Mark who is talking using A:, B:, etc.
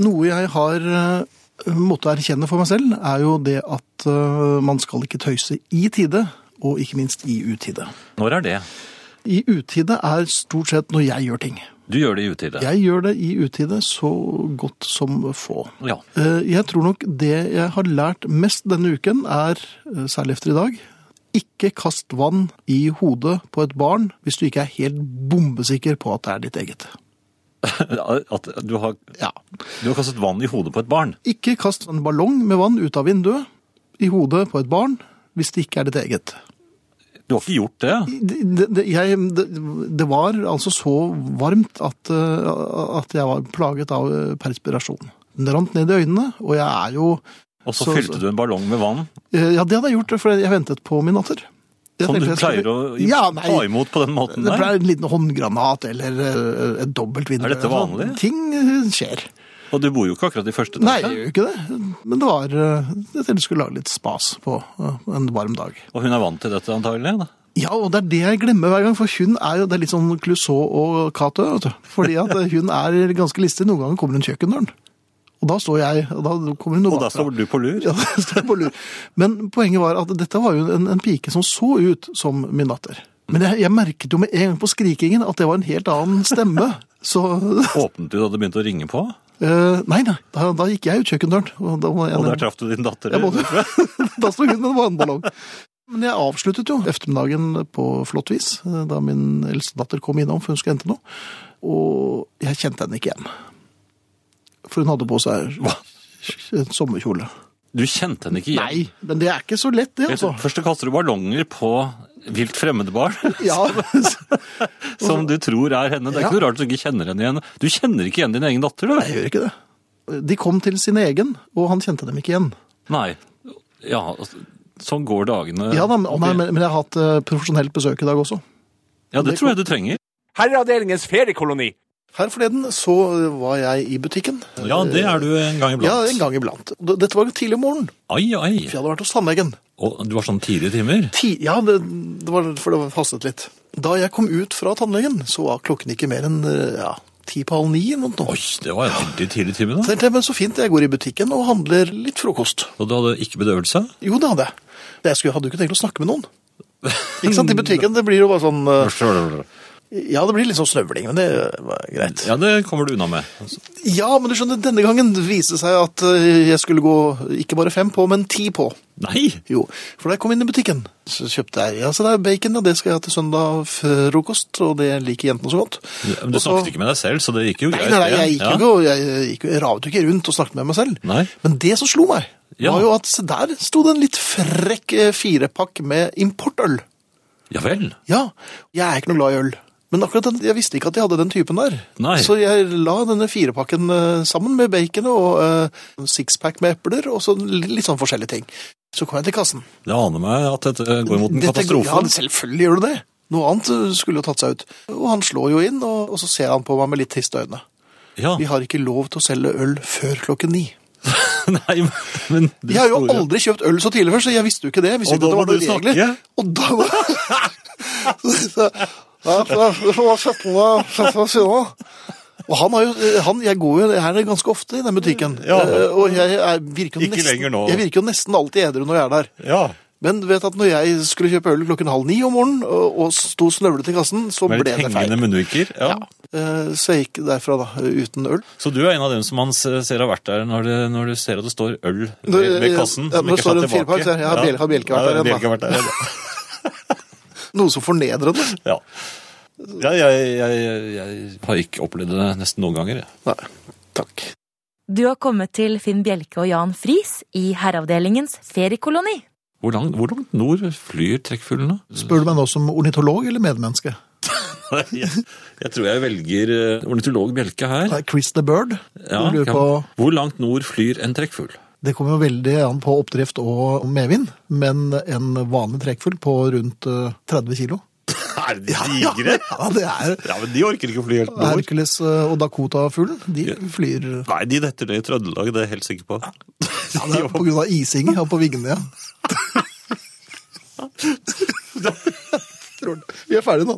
A: Noe jeg har eh, måttet erkjenne for meg selv, er jo det at eh, man skal ikke tøyse i tide, og ikke minst i utide.
B: Når er det?
A: I utide er stort sett når jeg gjør ting.
B: Du gjør det i utide.
A: Jeg gjør det i utide så godt som få.
B: Ja.
A: Eh, Jeg tror nok det jeg har lært mest denne uken er, eh, særlig efter i dag, ikke kast vann i hodet på et barn hvis du ikke er helt bombesikker på at det er ditt eget.
B: At du har,
A: Ja.
B: du har kastet vann i hodet på et barn.
A: Ikke kast en ballong med vann ut av vinduet i hodet på et barn hvis det ikke er ditt eget.
B: Du har ikke gjort det.
A: Det, det, det- jeg, det, det var altså så varmt at, eh, at jeg var plaget av eh, perspirasjon. Den rant ned i øynene, og jeg er jo
B: Og så
A: Så-
B: fylte du en ballong med vann,
A: eh, Ja, det hadde jeg gjort, for jeg ventet på min datter. Jeg
B: som du
A: tenkte jeg skulle-
B: pleier å i-
A: ja,
B: ta
A: nei,
B: imot på den måten
A: det ble
B: der.
A: en liten håndgranat eller eh, et dobbelt vindu.
B: Er dette vanlig?
A: Ting eh, skjer.
B: Og du bor jo ikke akkurat i første
A: Nei, jeg
B: etasje.
A: gjør jo ikke det. Men det var eh, Jeg tenkte jeg skulle lage litt spas på eh, en varm dag.
B: Og hun er vant til dette antagelig. Da.
A: Ja, og det er det jeg glemmer hver gang, for hun er jo det er litt sånn Clouseau og Cato. vet du. Fordi at hun er ganske listig. Noen ganger kommer hun kjøkkendøren. Og da står jeg, og da kommer hun noe
B: Og da
A: bakfra.
B: står du på lur.
A: Ja, da står jeg på lur. Men poenget var at dette var jo en, en pike som så ut som min datter. Men jeg, jeg merket jo med en gang på skrikingen at det var en helt annen stemme. Så
B: Åpnet du da det begynte å ringe på,
A: eh, Nei, nei. Da, da gikk jeg ut kjøkkendøren. Og da, må jeg
B: og der traff du din datter.
A: Jeg måtte, da sto hun med en vannballong. Men jeg avsluttet jo eftermiddagen på flott vis, eh, da min eldste datter kom innom, for hun skulle hente noe. Og jeg kjente henne ikke igjen. For hun hadde på seg en sommerkjole.
B: Du kjente henne ikke igjen.
A: Nei, men det er ikke så lett, det,
B: Vet du,
A: altså.
B: Først så kaster du ballonger på vilt fremmede barn,
A: Ja,
B: som du tror er henne. Det er
A: Ja.
B: ikke noe rart du ikke kjenner henne igjen. Du kjenner ikke igjen din egen datter, du.
A: jeg gjør ikke det. De kom til sin egen, og han kjente dem ikke igjen.
B: Nei. Ja, altså, sånn går dagene.
A: Ja da, men,
B: Ok.
A: nei, men men jeg har hatt eh, profesjonelt besøk i dag også.
B: ja, det tror jeg du trenger.
C: Herreavdelingens feriekoloni.
A: Her forleden så var jeg i butikken.
B: Ja, det er du en gang
A: Ja,
B: iblant.
A: en gang iblant. Dette var jo tidlig om morgenen,
B: Ai, ai.
A: for jeg hadde vært hos tannlegen.
B: Og du var sånn tidlige timer.
A: Ti, ja, det, det var for det hastet litt. Da jeg kom ut fra tannlegen, så var klokken ikke mer enn eh, ja, ti på halv ni. eller noe sånt.
B: Oi, det var en veldig tidlig time
A: Så
B: da.
A: tenkte jeg, men så fint, jeg går i butikken og handler litt frokost.
B: Og du hadde ikke bedøvelse?
A: Jo, det hadde jeg. Jeg skulle, hadde jo ikke tenkt å snakke med noen. Ikke sant, i butikken, det blir jo bare sånn... eh, Ja, det blir litt sånn snøvling, men det var greit.
B: Ja, det kommer du unna med. Altså,
A: Ja, men du skjønner, denne gangen viste det seg at eh, jeg skulle gå ikke bare fem på, men ti på.
B: Nei!
A: Jo, for da jeg kom inn i butikken, så kjøpte jeg ja, så det er bacon, og det skal jeg ha til søndag frokost, og det liker jentene så godt.
B: Men Du snakket ikke med deg selv, så det gikk jo
A: Nei,
B: greit.
A: nei, nei, jeg gikk
B: det.
A: jo ikke, og jeg, gikk, jo- jeg ravet jo ikke rundt og snakket med meg selv.
B: Nei.
A: Men det som slo meg,
B: Ja.
A: var jo at se der sto det en litt frekk eh, firepakk med importøl.
B: Ja. ja vel.
A: Ja, jeg er ikke noe glad i øl. Men akkurat den, jeg visste ikke at jeg hadde den typen der.
B: Nei.
A: Så jeg la denne firepakken eh, sammen med bacon og eh, en sixpack med epler, og så litt, litt sånn forskjellige ting. Så kom jeg til kassen.
B: Det aner meg at dette eh, går mot en
A: Dette-
B: katastrofe.
A: Ja, selvfølgelig gjør du det. Noe annet eh, skulle jo tatt seg ut. Og han slår jo inn, og, og så ser han på meg med litt triste øyne.
B: Ja,
A: Vi har ikke lov til å selge øl før klokken ni.
B: nei, men du
A: Jeg har jo
B: store-
A: aldri kjøpt øl så tidlig før, så jeg visste jo ikke det. Jeg visste
B: Og
A: ikke
B: da
A: at det
B: må
A: var noen
B: du
A: regler.
B: snakke.
A: Og da var det og han har jo, eh, han, Jeg går jo her ganske ofte i den butikken.
B: Ja.
A: eh, Og jeg, er, virker jo
B: Ikke lenger
A: nesten,
B: nå.
A: jeg virker jo nesten alltid edru når jeg er der.
B: Ja,
A: Men du vet at når jeg skulle kjøpe øl klokken halv ni om morgenen, og, og sto snøvlet i kassen, så
B: med
A: ble
B: litt
A: det feil.
B: hengende munnviker. Ja.
A: Eh, Så jeg gikk derfra da, uten øl.
B: Så du er en av dem som man se- ser har vært der når du, når du ser at det står øl ved,
A: Når-
B: ved kassen.
A: ja,
B: som
A: når
B: ikke
A: står
B: er
A: en
B: tilbake.
A: firepakk, så er jeg, ja, Bjelke- har Bjelke vært der
B: Ja,
A: igjen, da?
B: Bjelke har vært der igjen, da.
A: Noe så fornedrende.
B: Ja. Ja, jeg, jeg, jeg, jeg har ikke opplevd det nesten noen ganger. jeg.
A: Nei, takk.
D: Du har kommet til Finn Bjelke og Jan Friis i Herreavdelingens feriekoloni.
B: Hvor langt, hvor langt nord flyr trekkfuglene?
A: Spør du meg nå som ornitolog eller medmenneske?
B: jeg, jeg tror jeg velger eh, ornitolog Bjelke her.
A: Nei, Chris the Bird. du
B: Ja,
A: lurer
B: kan-
A: på,
B: Hvor langt nord flyr en trekkfugl?
A: det kommer jo veldig an på oppdrift og medvind, men en vanlig trekkfugl på rundt eh, 30 kilo.
B: Er de
A: Ja, ja, det er
B: Ja, men de orker ikke å fly helt
A: Hercules eh, og Dakota-fuglen. De flyr ja,
B: Nei, de detter ned i Trøndelag, det er jeg helt sikker på.
A: det er på grunn av ising her på vingene. Ja. Tror du- Vi er ferdige nå.